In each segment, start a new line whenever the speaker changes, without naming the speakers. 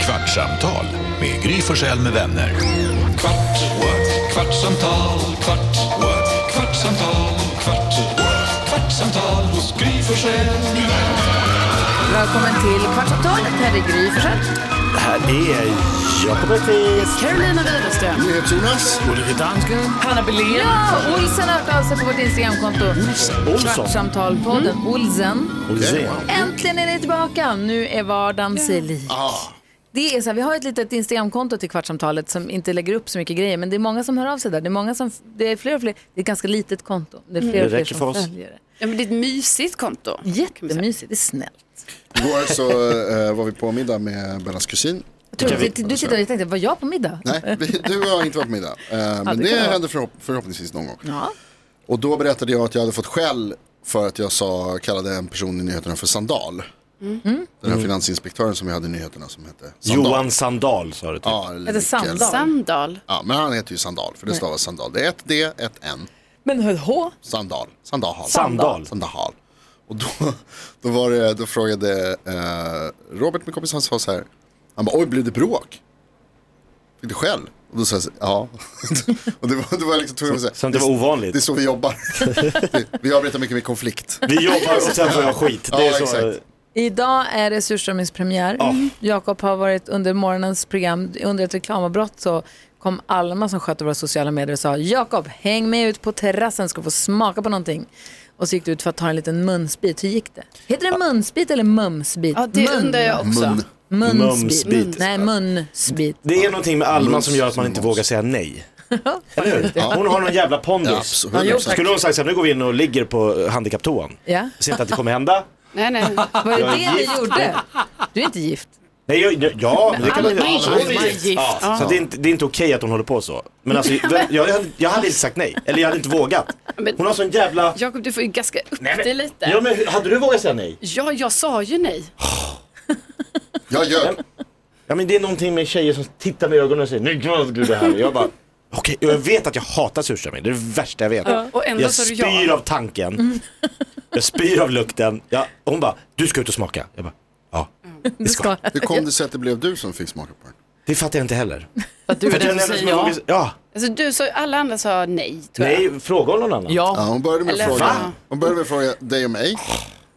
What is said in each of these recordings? Kvartsamtal med Gry Forssell med vänner. Kvart, what? kvartsamtal, kvart, what? kvartsamtal, kvart, what? kvartsamtal hos Gry Forssell med vänner.
Välkommen till Kvartsamtalet. Här är Gry Forssell.
Det här är Jakob Öqvist.
Carolina Widerström.
Jonas. Ulrika Dansken.
Hanna Belén. Ja, Olsen har hört av sig på vårt Instagramkonto.
Olsson.
Kvartsamtalpodden Olsen.
Olsén.
Mm. Äntligen är ni tillbaka. Nu är vardagen sig lik.
Ah.
Det är så här, vi har ett litet Instagramkonto till Kvartsamtalet som inte lägger upp så mycket grejer, men det är många som hör av sig där. Det är, många som, det är fler och fler. Det är ett ganska litet konto. Det är fler
Mm. Det
och fler
räcker
som
för oss.
följer det.
Ja, men det är ett mysigt konto.
Jättemysigt. Det är snällt.
Igår så eh, var vi på middag med Bellas kusin.
Jag tror,
vi-
du, du tittade och tänkte, var jag på middag?
Nej, vi- du har inte varit på middag. Eh,
det
men det
kan det vara.
händer förhopp förhoppningsvis någon gång.
Ja.
Och då berättade jag att jag hade fått skäll för att jag sa, kallade en person i nyheterna för Sandal.
Mm.
Den här finansinspektören som vi hade i nyheterna som hette Sandal.
Johan Sandahl sa du till.
Ja, eller
Hette
Mikael.
Sandal.
Sandal.
Ja, men han heter ju Sandal för det stavas Sandal. Det är ett D, ett N.
Men hör H.
Sandal. Sandal.
Sandahl.
Sandal. Och då, då, var det, då frågade eh, Robert, min kompis, han sa så här. Han bara, oj, blev det bråk? Fick du skäll? Och då sa jag, så här, ja. och det var, det var liksom tvungen att säga.
Så det var ovanligt.
Det är så vi jobbar. Det- vi arbetar mycket med konflikt.
Vi jobbar och sen får jag skit. Det är
Ja,
så.
exakt.
Idag är det surströmmingspremiär. Jakob har varit under morgonens program, under ett reklamavbrott så kom Alma som sköter våra sociala medier och sa Jakob, häng med ut på terrassen ska få smaka på någonting. Och så gick du ut för att ta en liten munsbit. Hur gick det? Heter det munsbit eller mumsbit?
Ja, det
Mun.
undrar jag också.
Munsbit.
Mun.
Mumsbit.
Nej, munsbit.
Det är någonting med Alma
Mums,
som gör att man inte
mums.
vågar säga nej. Eller hur? Hon har någon jävla
Ja,
pondus.
absolut.
jo,
Skulle hon sagt så här, nu går vi in och ligger på eh, handikapptoan.
Ja.
Jag ser inte att det kommer hända.
Nej, nej.
Var det
Jag är
det
gift.
du gjorde? Du är inte gift.
Nej, jag, ja, men det kan man
Alma är
Alma
gift. Alma är gift.
Ja, så det är inte, det är inte okej att hon håller på så. Men alltså, jag, jag, jag hade inte sagt nej. Eller jag hade inte vågat.
Men-
Hon har sån jävla...
Jakob, du får ju gaska upp
Nej, men-
dig lite.
Ja, men hur- hade du vågat säga nej?
Ja, jag sa ju nej.
Jag gör.
Ja men det är någonting med tjejer som tittar mig i ögonen och säger nu gör du det här. Jag bara okej, och jag vet att jag hatar surströmming, det är det värsta jag vet.
och ändå
jag
sa du
spyr
ja.
av tanken, jag spyr av lukten. Ja, och hon bara, du ska ut och smaka. Jag bara, ja.
Du ska.
Hur kom det sig att det blev du som fick smaka på den?
Det fattar jag inte heller.
Att du
För att jag är den som har vågat- ja.
Alltså, du sa ju, alla andra sa nej, tror jag.
Nej, fråga om någon annan.
Ja, hon, började med
Eller-
fråga,
Va? Oh.
hon började med att fråga dig och mig.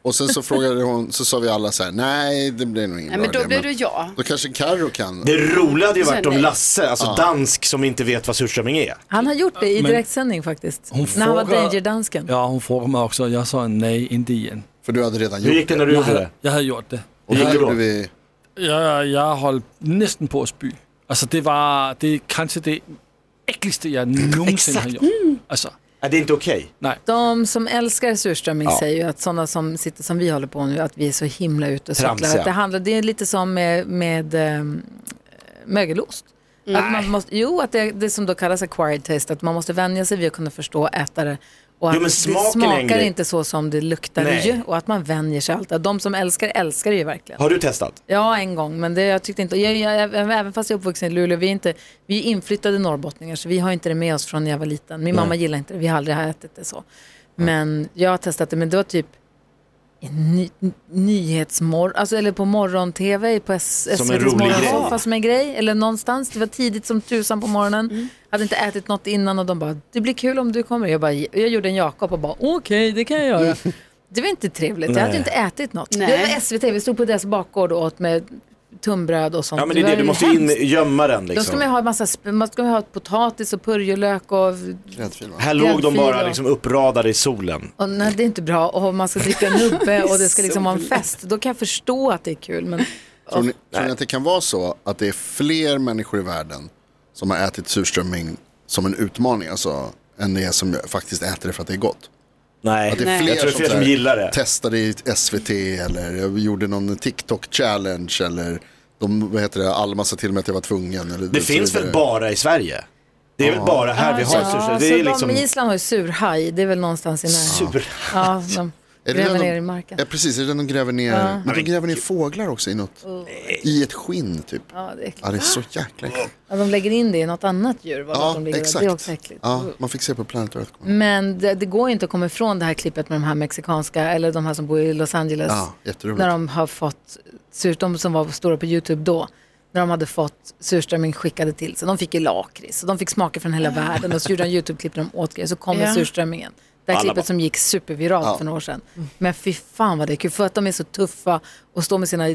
Och sen så frågade hon, så sa vi alla så här, nej det blir nog ingen
Nej, men då
bra idé,
blir det jag.
Då kanske Carro kan.
Det roliga hade ju varit om
Nej.
Lasse, alltså dansk som inte vet vad surströmming är.
Han har gjort det i direktsändning faktiskt.
Hon
När han var
frågar-
Danger-dansken.
Ja, hon frågade mig också. Jag sa nej, inte igen.
För du hade redan
Hur
gjort
gick det när du
Jag
gjorde
hade,
det?
jag hade gjort det.
Och
gick
då
det
gjorde
bra?
vi,
Jag, jag höll nästan på att spy. Alltså det var, det är kanske det äckligaste jag någonsin har gjort.
Mm.
Alltså,
Nej, det är inte okej.
nej.
De som älskar surströmming säger ju att sådana som sitter som vi håller på nu, att vi är så himla ute och cyklar.
Tramsiga.
Att det, handlar, det är lite som med, med ehm, mögelost. Att man måste, jo, att det, det som då kallas acquired taste, att man måste vänja sig vid att kunna förstå ätare. Och att
men smaken är
det
en
smakar
grej.
inte så som det luktar
Nej.
ju och att man vänjer sig alltid. De som älskar älskar det ju verkligen.
Har du testat?
Ja, en gång, men det, jag tyckte inte, jag, jag, jag, även fast jag är uppvuxen i Luleå, vi är, inte, vi är inflyttade norrbottningar så vi har inte det med oss från när jag var liten. Min mamma gillar inte det, vi har aldrig ätit det så. Men jag har testat det, men det var typ i ny, nyhetsmorgon, alltså, eller på morgon-tv på S-
Som en
SVTs
rolig
morgonsoffa
grej.
som en grej, eller någonstans. Det var tidigt som tusan på morgonen,
Mm.
hade inte ätit något innan och de bara, det blir kul om du kommer. Jag, bara, jag gjorde en Jakob och bara, okej, det kan jag göra. Det var inte trevligt, jag hade ju
Mm. Nej.
inte ätit något.
Nej.
Det var SVT, vi stod på deras bakgård och åt med tunnbröd och sånt.
Ja men det är
var
det, du
ju
måste in,
hemskt.
gömma den
Då ska man
liksom.
ju ha, en massa, sp- man ska ju ha potatis och purjolök och,
gräddfil va?
Här låg de bara
Gräddfil,
liksom uppradade i solen.
och nej, det är inte bra. Och man ska dricka nubbe och det ska liksom vara en fest. Då kan jag förstå att det är kul. Men
Tror ni, tror ni att det kan vara så att det är fler människor i världen som har ätit surströmming som en utmaning, alltså, än det är som faktiskt äter det för att det är gott?
Nej,
Att det är fler
jag tror det är fler
så
som
här
gillar det.
Testade i SVT eller jag gjorde någon TikTok-challenge eller de, vad heter det, Alma sa till mig att jag var tvungen. Eller
Det finns väl bara i Sverige? Det är väl bara här vi har surströmming? Det är
de,
liksom
Island har ju surhaj, det är väl någonstans i närheten.
super...
Ja, de gräver
den de-
ner i marken.
Ja, precis, är det den de gräver ner? Men de gräver ner fåglar också i något, i ett skinn typ.
Ja, det är äckligt.
Ja, det är så jäkla äckligt.
ja, de lägger in det i något annat djur. Vad
Ja,
de lägger- Det är också
exakt.
äckligt. Mm.
Ja, man fick se på Planet Earth.
Men det, det går ju inte att komma ifrån det här klippet med de här mexikanska, eller de här som bor i Los Angeles.
Ja, jätteroligt.
när de har fått, surt- de som var stora på YouTube då, när de hade fått surströmming skickade till sig. De fick ju lakrits och de fick smaker från hela världen och så gjorde de YouTube-klipp där de åt grejer. Så kom
Ja.
yeah. surströmmingen. Det här
Alla bara-
klippet som gick superviralt för några år sedan. Men fy fan vad det är kul för att de är så tuffa och står med sina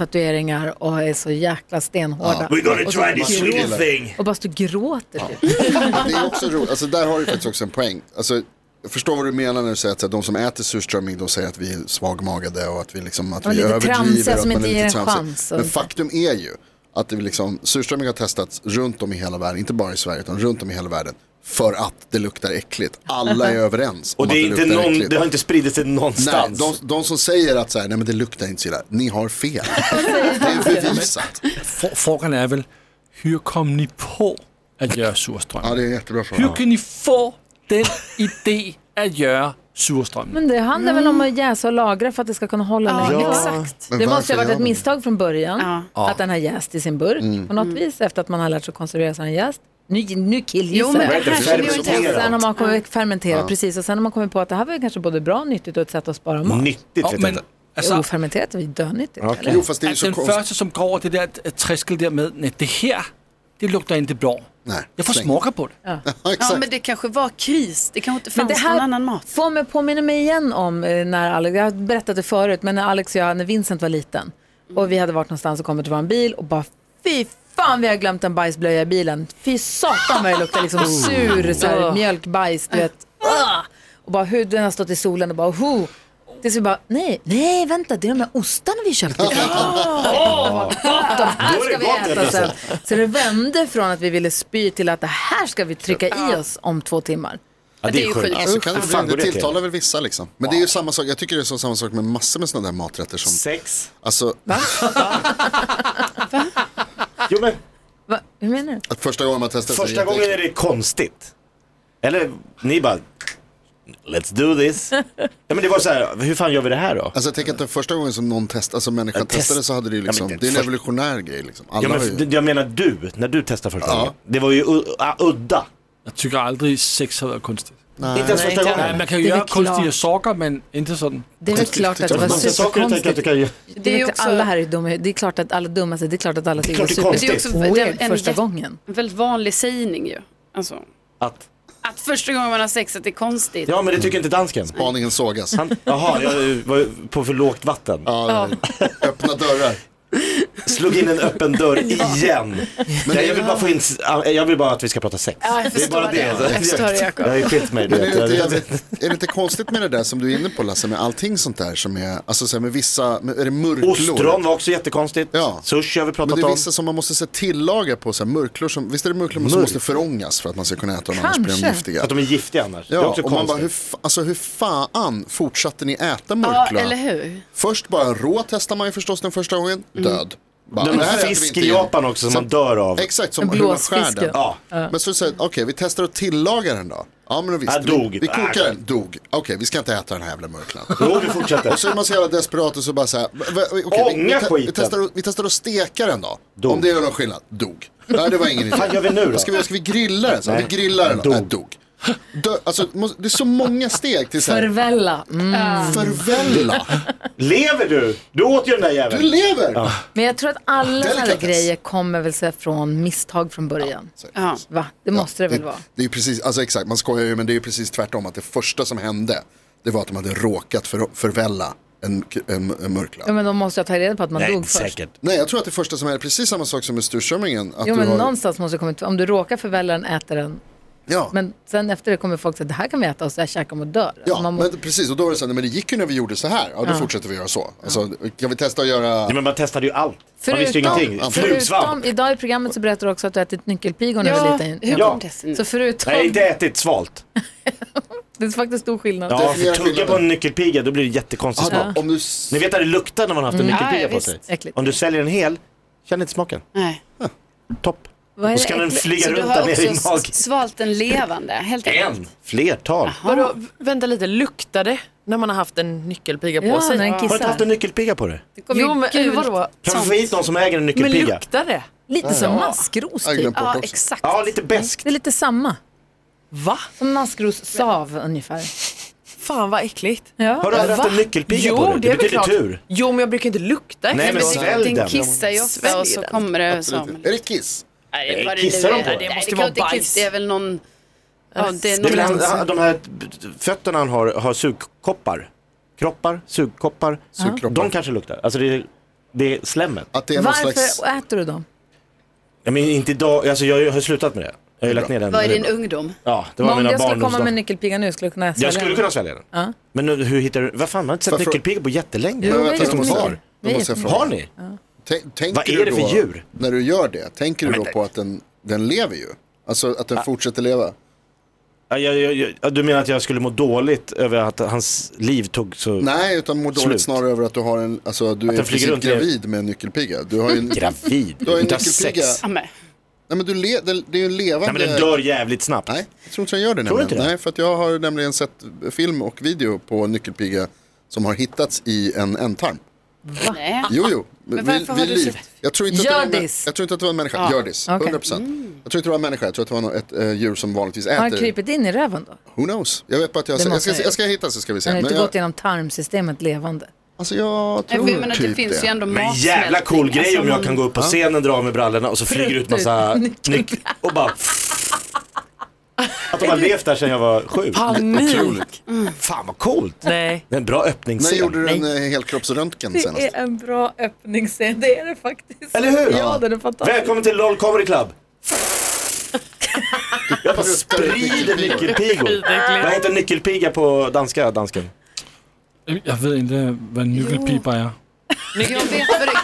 latinotatueringar och är så jäkla stenhårda.
We're Ah. gonna
Och
Alltså,
try
så-
this little thing.
Och bara står och gråter typ.
Det är också roligt, alltså där har du faktiskt också en poäng. Alltså, jag förstår vad du menar när du säger att så här, de som äter surströmming, de säger att vi är svagmagade och att vi, liksom, att
Ja,
vi
lite
överdriver.
tramsiga
att
som
man
inte
är lite
ger en
tramsig.
chans och
Men
inte-
faktum är ju att det liksom, surströmming har testats runt om i hela världen, inte bara i Sverige utan runt om i hela världen. För att det luktar äckligt. Alla är överens om
Och det, är
att
inte
det luktar
någon,
äckligt.
det har inte spridit sig
Nej,
någonstans.
de, de som säger att så här, nej men det luktar inte så illa, ni har fel. det är bevisat.
For, frågan är väl, hur kom ni på att göra surström?
Ja, det är en jättebra fråga.
Hur kan ni få den idé att göra surström?
Men det handlar väl om att jäsa och lagra för att det ska kunna hålla länge.
Ja,
va?
exakt.
Men
Det måste
varför
ju ha varit
gör
ett
de det?
misstag från början
Ja.
att den har jäst i sin burk på något vis efter att man har lärt sig att konservera så har den jäst. Nu, nu
Jo,
killgissar
men
jag.
Vad heter det?
här känner jag
Och
inte
Fermenterat.
alls.
Sen har man kommit, fermenterat, precis. Och sen har man kommit på att det här var ju kanske både bra och nyttigt och ett sätt att spara
Mm.
mat.
Nyttigt
Ja,
vet jag
men
inte.
alltså,
Ofermenterat är ju dönyttigt. eller?
Jo, fast det är ju
att
så
den
konstigt.
första som går över det där äh, träskel där med, nej det här, det luktar inte bra.
Nej,
Jag får
släng.
smaka på det.
Ja, exakt.
Ja, men det kanske var kris. Det kanske inte
Men
fanns
det
någon
här
annan mat.
får mig påminna mig igen om eh, när Alex, jag har berättat det förut, men när Alex och jag, när Vincent var liten och vi hade varit någonstans och kommit till vår bil och bara fy fan vi har glömt en bajsblöja i bilen. Fy satan vad det luktar liksom sur så här, mjölkbajs, du vet. Ah! Och bara hur den har stått i solen och bara ho. Tills vi bara, nej, nej vänta, det är de där ostarna vi köpte. Åh, vad gott, de här
Ah! Då är det
ska vi
gott helt
äta sen. Så det vände från att vi ville spy till att det här ska vi trycka i oss om två timmar.
Ja, det är sjukt.
Ja, så kan
Hur
Alltså, det
fan
bli.
går
Det
det till?
tilltalar väl vissa liksom. Men det är ju samma sak, jag tycker det är så samma sak med massor med sådana där maträtter som,
Sex.
alltså
Jo, men
Va? Hur menar du?
att första gången man testar så är Alltså, det
första gången är
jätteäckligt.
det konstigt. Eller ni bara, let's do this. Ja, men det var så här, hur fan gör vi det här då?
Alltså jag tänker att den första gången som någon testade, alltså människan
Ja, test-
testade så hade det
Ja,
ju
men
liksom,
det-
det är en
först-
evolutionär grej liksom. Alla
Ja,
har
men,
ju,
d- jag menar du, när du testade första
Ja.
gången. Det var ju u- uh, udda.
Jag tycker aldrig sex har varit konstigt.
inte ens första
Nej,
gången.
man kan ju
Det är
göra
väl klart.
konstiga saker men inte sån.
Det är väl klart att
det
det var
var
Massa saker jag tänker att du
superkonstigt.
kan göra.
Det är ju
också-
alla här är dumma. i- Det är klart att alla dumma sig. Det är klart att alla tycker
klart
det
det är
var
konstigt.
Det är också
super
det är
weird
en,
första
jätte-
gången.
en väldigt vanlig sägning ju. Alltså,
Att,
att första gången man har sex att det är konstigt.
ja, men det tycker inte dansken.
aningen sågas.
Han, jaha, jag eh, var på för lågt vatten.
Ja, öppna dörrar.
Slog in en öppen dörr igen. Men jag, vill bara få in, s- jag vill bara att vi ska prata sex.
Ja, jag
det är
förstår
bara det.
det. Jag förstår det, Jakob.
Jag har ju skilt mig. Du
Men är
vet.
det, inte,
Jag vet.
jävligt- är det inte konstigt med det där som du är inne på Lasse, med allting sånt där som är, alltså så här, med vissa, med, är det mörklor?
Ostron var också jättekonstigt.
Ja.
Sushi har vi
Men
pratat
det är
om.
vissa som man måste se tillaga på, så här, mörklor som, visst är det mörklor som
Mörk.
måste förångas för att man ska kunna äta dem, annars blir de
Kanske.
giftiga.
Att de är giftiga annars. det är
Ja,
också
och man bara, hur,
konstigt.
fa- alltså, hur fan fortsatte ni äta
Ja,
mörklöv?
eller hur?
Först bara rå testar man ju förstås den första gången,
Mm.
död. Bara,
De
"Det
här
här äter vi
fisk
inte
i
igen."
Japan också som man dör av.
Exakt, som
En
hur man skär
blåsfisk,
den.
ja.
Ja.
Men så säger okej vi testar att tillaga den då. Ja men visst,
Ja, dog.
vi, vi kokar
Ja.
den, dog. Okej vi ska inte äta den här jävla mörklan.
Jo, vi fortsätter.
Och så är man så jävla desperat och så bara så här, "Va- va- okej, vi, vi,
Ånga
te- vi,
skiten.
testar, att- vi testar att steka den då.
Dog.
Om det gör någon skillnad, dog. Nej det var ingen idé.
Vad fan gör vi nu då?
Ska vi, ska vi grilla den? Så? här?
Nej.
Vi grillar den då.
Dog.
Nej, dog. Dö, alltså, måste, det är så många steg till så här,
Förvälla. Mm.
förvälla.
Lever du? Du åt ju den där
Du
jäveln.
lever!
Men jag tror att alla sådana där
Delikatess.
grejer kommer väl sig från misstag från början.
Ja.
Va? Det måste det väl
det,
vara.
det är ju precis, alltså exakt, man skojar ju men det är ju precis tvärtom att det första som hände det var att de hade råkat för, förvälla en, en, en mörklöv.
Ja, men de måste jag ta reda på att man
Nej,
dog först.
säkert.
Nej jag tror att det första som hände, precis samma sak som med surströmmingen. Att
Jo,
du
men
har,
någonstans måste det komma ut. Om du råkar förvälla den, äter den.
ja, men,
Men sen efter det kommer folk säga, det här kan vi äta och så här käkar man och dör. Alltså,
ja
man må-
men precis och då var det så här, nej, men det gick ju när vi gjorde så här, ja då fortsätter vi göra så. Alltså, kan vi testa att göra,
Ja, men man testade ju allt. Man visste ju ingenting.
förutom,
Flugsvamp.
idag i programmet så berättar du också att du ätit nyckelpigor när du
Ja,
var liten.
hur
Ja.
kom det sig nu?
Så förutom,
Nej, inte ätit svalt.
det är faktiskt stor skillnad.
Ja, för
Definiera
tugga på
skillnaden.
en nyckelpiga då blir det jättekonstig
Ja,
smak.
om du,
Ni vet att det luktar när man har haft en
Ja, ja,
nyckelpiga på
visst.
sig.
Äckligt.
Om du säljer en hel, känner inte smaken.
Nej.
Topp.
Vad är
Då
det
ska den
äckligt?
flyga
Så du
runt där
har
nere i
också
magen.
s- svalt en levande, helt
En,
enkelt.
flertal.
Vadå, v- vänta lite, luktar det när man har haft en nyckelpiga på
Ja,
sig?
när den
Har du inte
kissar.
haft en nyckelpiga på dig?
Det kom
Jo,
ju
men
gult.
vadå?
Kan vi få hit någon som äger en
Men
nyckelpiga?
luktar det?
Lite som maskros
jag har
typ.
glömt bort
Ja,
också.
exakt.
Ja, lite bäst.
Det är lite samma.
Va?
Som maskrossav ungefär.
Fan vad äckligt.
Har du aldrig haft en nyckelpiga
jo,
på dig?
det
Det
är väl
betyder
klart.
tur.
Jo, men jag brukar inte lukta
Nej, men
efter det.
svälj
Den
den.
kissar ju ofta och så
Svälj den.
kommer det
Absolut
som...
inte. Är det kiss?
Nej, vad
kissar de på
är.
det?
Nej,
Det måste
kan
vara
inte
bajs.
kiss, Det är väl någon... Ja, det är
Det är väl
någon
han, han, de här fötterna han har, har sugkoppar. Kroppar, sugkoppar.
Sugkroppar.
De kanske luktar. Alltså det, är- det är slemmet.
Att det är någon
Varför
slags...
äter du dem?
Ja, men inte idag, alltså jag har slutat med det. Jag har ju lagt ner den.
Vad är din ungdom?
Ja, det
Men
var
Om
mina
jag skulle komma
barndomsdagar.
med nyckelpiga nu skulle jag kunna svälja
Jag skulle
den.
kunna svälja den.
Ja.
Men nu, hur hittar du, vad fan man har inte sett
Varför-
nyckelpigor på jättelänge.
Jo,
Men
det är
vänta, då måste
kvar.
jag- då
Vi
måste jag
är-
fråga.
Har ni?
Tän- tänker
Vad är
du
det för
då-
djur?
När du gör det, tänker du
Ja,
då
men-
på att den, den lever ju? Alltså att den fortsätter leva?
Mm. Ja, jag, jag, jag, ja, du menar att jag skulle må dåligt över att hans liv tog så...
Nej, utan mår
Slut.
dåligt snarare över att du har en, alltså du är
den
i
flyger
princip
runt i- Mm.
gravid med en nyckelpiga. Du har ju en, nej
Gravid.
Du har en
Utan
nyckelpiga.
sex.
Ja, men,
men du le, den, det är ju en
Nej
levande...
men den dör jävligt snabbt.
Nej, jag tror inte den gör det
Tror du inte
nämligen.
det?
Nej, för att jag har nämligen sett film och video på nyckelpiga som har hittats i en ändtarm.
nej.
Jo, jo. Men
varför har du sett-
Jag tror inte att det var en mä-
Gördis.
jag tror inte att det var en människa.
Ja,
Gördis,
okej.
100%. Jag tror inte det var en människa, jag tror att det var något- ett eh, djur som vanligtvis
Har den
äter.
krypit in i röven då?
Who knows? Jag vet bara att jag,
Det
jag,
måste
ska,
jag
jag ska hitta så ska vi se.
Den har
Men
inte
jag,
gått genom tarmsystemet levande.
alltså jag tror
Jag menar att det
typ
finns ju ändå
Men
matsmältning.
jävla cool grej
Alltså,
om jag
man-
kan gå upp på scenen, dra av mig brallorna och så flyger ut massa nyckel och bara... Att de har levt där sedan jag var sju.
Panik.
Mm.
Fan vad coolt!
Nej.
Det är en bra
När
öppningsscen.
gjorde du en eh, helkroppsröntgen senast?
en bra öppningsscen, det är det faktiskt.
Eller hur?
den är fantastisk.
Välkommen till LOL Comedy Club! Jag bara sprider nyckelpigor. Vad heter nyckelpiga på danska, dansken?
Jag vet inte vad nyckelpipa är.
Jag vet vad det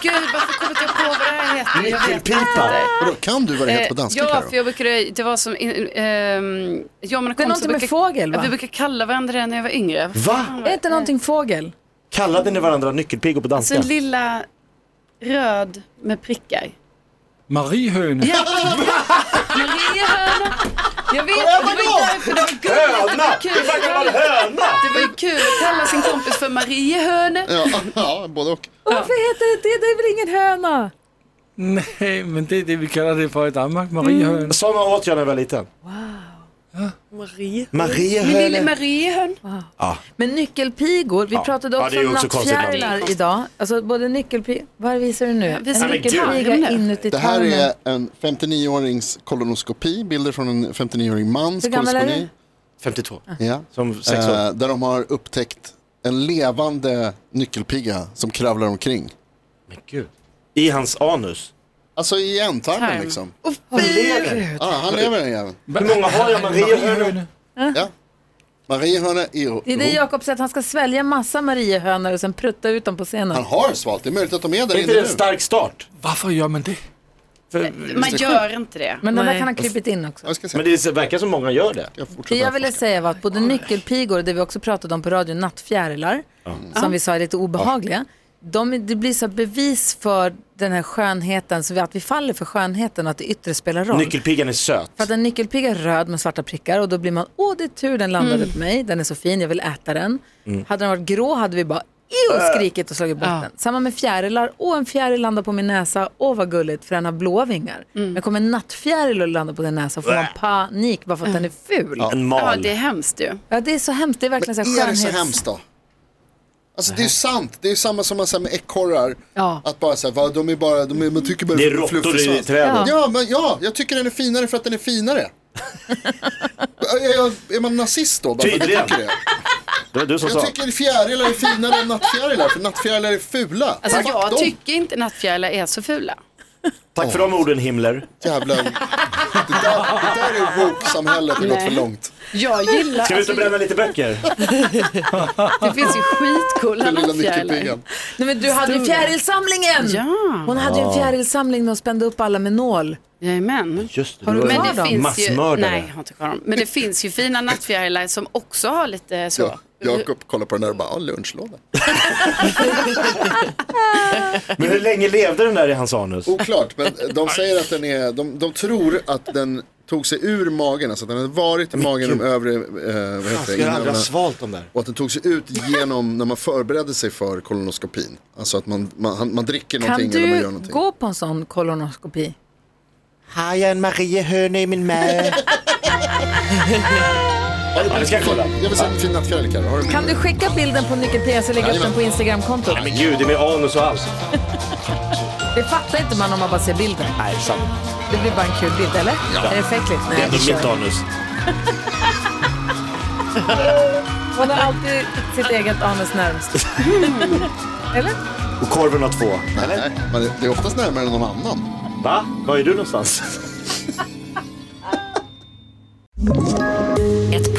Gud, varför kommer inte jag på vad det här heter? Jag vet
Nyckelpipa!
Vadå, kan du vad det heter på danska
Eh, Ja,
Karo?
för jag brukade, det var som, um, ja men
Det är
kompis
någonting med
brukar-
fågel
Ja, Vi
va?
brukar kalla varandra det när jag var yngre.
Va?
Är inte någonting fågel?
Kallade ni varandra nyckelpigor på
Så Alltså, en
danska?
lilla röd med prickar.
Mariehöne.
Mariehöna! Jag vet, det var ju därför det var
Höna! Det
gulligt. Det var kul att
verkar vara en
kalla,
höna!
det var ju kul att kalla sin kompis för Mariehöne.
Ja, ja, både och.
Varför heter det det? Det är väl ingen höna?
Nej, men det är det vi kallar det för i Danmark. Mariehöne.
Sådana åt jag när jag var liten.
Marie.
Min lille
Mariehöne.
Mariehön.
Men nyckelpigor, vi
Ja.
pratade
Ja,
också
det är
om
ju också konstigt namn.
nattfjärilar idag. Alltså både nyckelpigor, vad visar du nu? En
visar
en
nyckelpiga
tarm nu.
inuti
Det här
tarmen.
är en 59-årings kolonoskopi, bilder från en 59-årig mans
Hur gammal är
kolonoskopi.
52.
Ja.
Som sex år.
Eh, där de har upptäckt en levande nyckelpiga som kravlar omkring.
Men gud. I hans anus.
Alltså i ändtarmen liksom. Ja, han lever den jäveln.
Hur många har jag? Mariehöne?
Ja. Mariehörna i
Det är det Jakob säger, att han ska svälja massa mariehönor och sen prutta ut dem på
Han
scenen.
har svalt, det är möjligt att de är där
Är inte
inne
det en
nu.
stark start?
Varför gör man det?
Man gör inte det.
Men de där
Nej.
kan ha krypit in också.
Jag ska se.
Men det verkar som många gör det.
Jag
Det
fortsätter.
jag ville säga var att både nyckelpigor och det vi också pratade om på radio, nattfjärilar, som vi sa är lite obehagliga, de, är- det blir så här bevis för den här skönheten, så vi, att vi faller för skönheten och att det yttre spelar roll.
Nyckelpigan är söt.
För att en nyckelpigga är röd med svarta prickar och då blir man, åh det är tur den
Mm.
landade på mig, den är så fin, jag vill äta den. Hade den varit grå hade vi bara,
Äh.
eww, skrikit och slagit bort den. Samma med fjärilar, åh en fjäril landar på min näsa, åh vad gulligt för den har blåa vingar.
Mm.
Men kommer en nattfjäril och landar på din näsa får man
Äh.
panik bara för att den är ful. Ja.
En
Ja,
mal.
det är hemskt ju. Alltså,
det är så hemskt, det är verkligen så
Men
här
är det
skönhets...
så hemskt då? Alltså det är ju sant, det är ju samma som man säger med ekorrar.
Ja.
Att bara säga, de är bara, de är, man tycker bara
Det är
en fluffig
råttor i
svans.
trädet.
Ja, men ja, jag tycker den är finare för att den är finare. är, jag, är man nazist då? Bara för att jag
Tydligen.
tycker det?
Det var du som sa.
Jag tycker fjärilar är finare än nattfjärilar, för nattfjärilar är fula.
Alltså
Fuck dem.
jag tycker inte nattfjärilar är så fula.
Tack för de orden Himmler.
Jävlar. Det där, det där är woke-samhället, det har gått för långt.
Jag gillar,
Ska vi ut
alltså,
och bränna lite böcker?
det finns ju skitcoola
Den lilla
nattfjärilar.
nyckelpigan.
Nej men du hade ju fjärilsamlingen!
Ja,
Hon hade ju en fjärilsamling när hon spände upp alla med nål.
jajamän.
Just det,
Har du
var ju
kvar
Men det
dem?
finns ju,
massmördare.
nej, jag har inte kvar dem. Men det finns ju fina nattfjärilar som också har lite så.
Ja, Jakob kollar på den där och bara, ja, lunchlåda.
Men hur länge levde den där i hans anus?
Oklart, men de säger att den är, de, de tror att den tog sig ur magen, alltså att den hade varit i magen de övre, eh, vad heter det, inämnena.
svalt dem där?
Och att den tog sig ut genom, när man förberedde sig för kolonoskopin. Alltså att man, man, han- man dricker
Kan
någonting eller man gör
du
någonting.
gå på en sån kolonoskopi?
Har jag en Mariehöna i min mage?
Ja,
det ska jag kolla.
Jag vill se en fin nattkrönika. Har du
Kan du skicka bilden på nyckelpigan så lägger jag upp den på Instagramkontot?
Men gud, det är med anus och allt.
Det fattar inte man om man bara ser bilden.
Nej, sant.
Det blir bara en kul bild, eller? Är det fäckligt?
Det är ändå
vi
mitt
kör.
anus.
Hon har alltid sitt eget anus närmst. eller?
Och korven har två.
Nej, men det- det är oftast närmare än någon annan.
Va? Var är du någonstans?
Ett